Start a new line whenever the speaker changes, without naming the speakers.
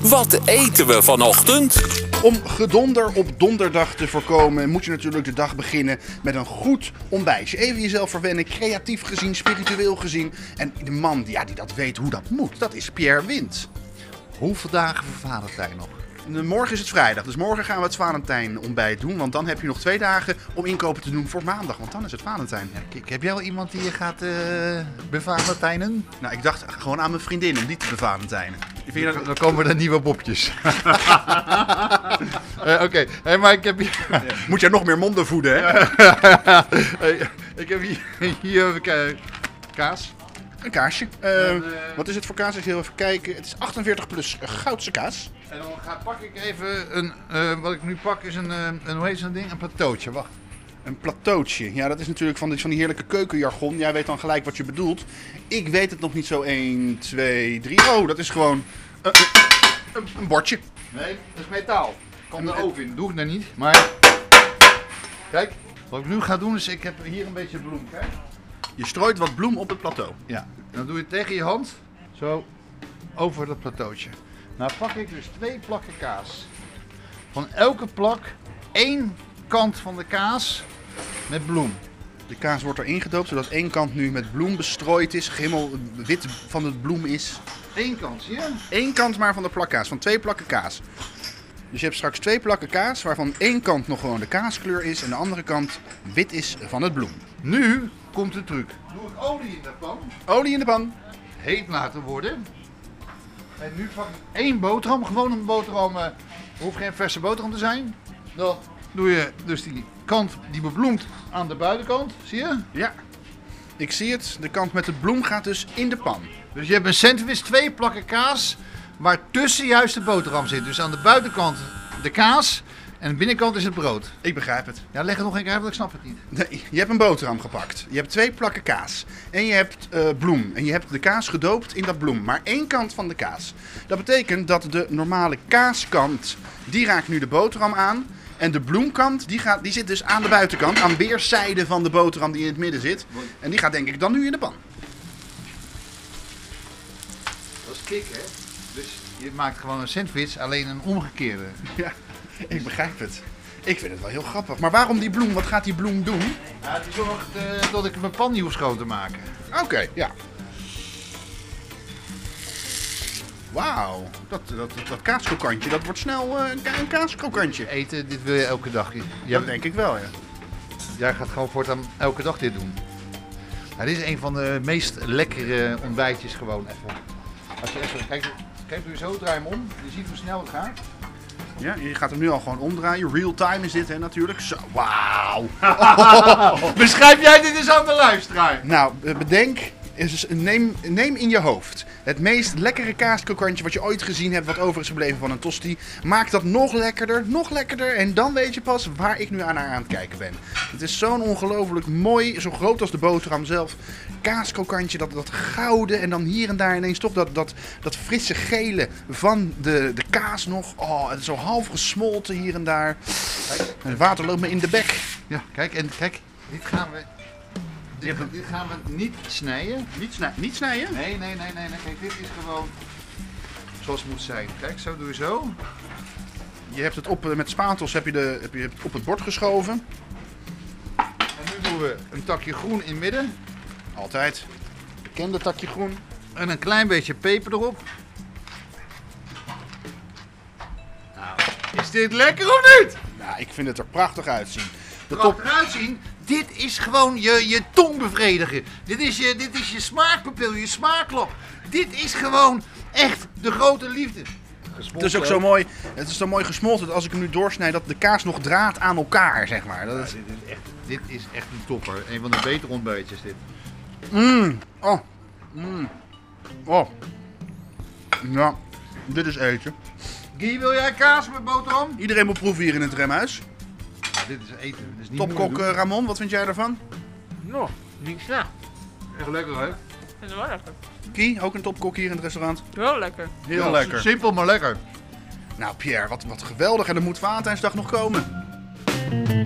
Wat eten we vanochtend?
Om gedonder op donderdag te voorkomen, moet je natuurlijk de dag beginnen met een goed ontbijtje. Even jezelf verwennen, creatief gezien, spiritueel gezien. En de man die, ja, die dat weet hoe dat moet, dat is Pierre Wind.
Hoeveel dagen voor Valentijn nog?
Morgen is het vrijdag, dus morgen gaan we het Valentijn ontbijt doen. Want dan heb je nog twee dagen om inkopen te doen voor maandag, want dan is het Valentijn.
Kijk, heb jij wel iemand die je gaat eh bevalentijnen?
Nou, ik dacht gewoon aan mijn vriendin om die te bevalentijnen. Vind je dat...
Dan komen er nieuwe bobjes. Eh, Oké, Hey, maar ik heb hier...
Moet jij nog meer monden voeden, hè?
Hey, ik heb hier, hier heb ik, eh, kaas.
Een kaasje. Eh, wat is het voor kaas? Als je heel even kijken. Het is 48 plus goudse kaas.
En dan ga, pak ik even een... eh, wat ik nu pak is een, eh, een hoe heet zo'n ding? Een plateautje, wacht.
Een plateautje. Ja, dat is natuurlijk van die, van die heerlijke keukenjargon. Jij weet dan gelijk wat je bedoelt. Ik weet het nog niet zo 1, 2, 3. Oh, dat is gewoon eh, eh, een, een bordje.
Nee, dat is metaal. Komt er oven in. Doe ik nou niet, maar... Kijk, wat ik nu ga doen is, ik heb hier een beetje bloem, kijk.
Je strooit wat bloem op het plateau.
Ja, dan doe je het tegen je hand, zo over dat plateautje. Nou pak ik dus twee plakken kaas. Van elke plak één kant van de kaas met bloem.
De kaas wordt erin gedoopt, zodat één kant nu met bloem bestrooid is. Gimmel eh, wit van het bloem is.
Eén kant, zie je?
Eén kant maar van de plakkaas, van twee plakken kaas. Dus je hebt straks twee plakken kaas, waarvan één kant nog gewoon de kaaskleur is en de andere kant wit is van het bloem.
Nu komt de truc. Doe ik olie in de pan,
Olie in de pan.
heet laten worden. En nu pak ik één boterham, gewoon een boterham, eh hoeft geen verse boterham te zijn. Dan doe je dus die kant die bebloemt aan de buitenkant, zie je?
Ja, ik zie het. De kant met de bloem gaat dus in de pan.
Dus je hebt een sandwich, twee plakken kaas, waar tussen juist de boterham zit. Dus aan de buitenkant de kaas en aan de binnenkant is het brood.
Ik begrijp het.
Ja, leg het nog een keer uit, want ik snap het niet.
Nee, je hebt een boterham gepakt. Je hebt twee plakken kaas. En je hebt eh, bloem. En je hebt de kaas gedoopt in dat bloem. Maar één kant van de kaas. Dat betekent dat de normale kaaskant, die raakt nu de boterham aan. En de bloemkant, die, gaat, die zit dus aan de buitenkant. Aan weerszijden van de boterham die in het midden zit. En die gaat denk ik dan nu in de pan.
Dat is kik, hè? Dus je maakt gewoon een sandwich, alleen een omgekeerde.
Ja, ik begrijp het. Ik vind het wel heel grappig. Maar waarom die bloem? Wat gaat die bloem doen?
Ja, die zorgt eh, dat ik mijn pan niet hoef schoon te maken.
Oké, ja. Wauw, dat, dat, dat kaaskrokantje, dat wordt snel eh, een ka- een kaaskrokantje.
Eten, dit wil je elke dag. Je-
Ja,
Jij,
dat denk ik wel, ja.
jij gaat gewoon voortaan elke dag dit doen. Nou, dit is een van de meest lekkere ontbijtjes gewoon even. Als je even, kijk, kijk nu zo, draai hem om. Je ziet hoe snel het gaat.
ja. Je gaat hem nu al gewoon omdraaien. Real time is dit, hè, natuurlijk. Zo, wauw.
Beschrijf jij dit eens aan de luisteraar?
Nou, eh, bedenk, is dus- neem, neem in je hoofd het meest lekkere kaaskrokantje wat je ooit gezien hebt, wat over is gebleven van een tosti. Maak dat nog lekkerder, nog lekkerder en dan weet je pas waar ik nu aan haar aan het kijken ben. Het is zo'n ongelooflijk mooi, zo groot als de boterham zelf, kaaskrokantje, dat, dat gouden en dan hier en daar ineens toch dat, dat, dat frisse gele van de, de kaas nog. Oh, en zo half gesmolten hier en daar. Het water loopt me in de bek.
Ja, kijk, en kijk, dit gaan we, dit, dit gaan we niet snijden.
Niet, niet snijden?
Nee, nee, nee, nee, nee, kijk, dit is gewoon zoals het moet zijn. Kijk, zo doe je zo.
Je hebt het op, eh, met spatels heb je, de, heb je het op het bord geschoven.
En nu doen we een takje groen in het midden
Altijd. Bekende takje groen.
en een klein beetje peper erop. Nou, is dit lekker of niet?
Nou, ik vind het er prachtig uitzien. De
Top.
top,
eruit zien, dit is gewoon je, je tong bevredigen. Dit is je, dit is je smaakpapil, je smaakklop. Dit is gewoon echt de grote liefde.
het is ook zo mooi, het is zo mooi gesmolten dat als ik hem nu doorsnijd, dat de kaas nog draait aan elkaar, zeg maar. Dat is,
Dit is echt een topper. Een van de betere ontbijtjes dit.
oh, mm, oh. Ja, dit is eten.
Guy, wil jij kaas met boterham?
Iedereen moet proeven hier in het remhuis.
dit is eten. Dit is niet
Topkok eh, Ramon, wat vind jij daarvan?
No, niet slecht.
Echt lekker hè?
Dat is wel lekker.
Kie, ook een topkok hier in het restaurant.
Wel lekker.
Heel
Ja,
lekker.
Simpel maar lekker.
Nou Pierre, wat, wat geweldig en er moet Valentijnsdag nog komen.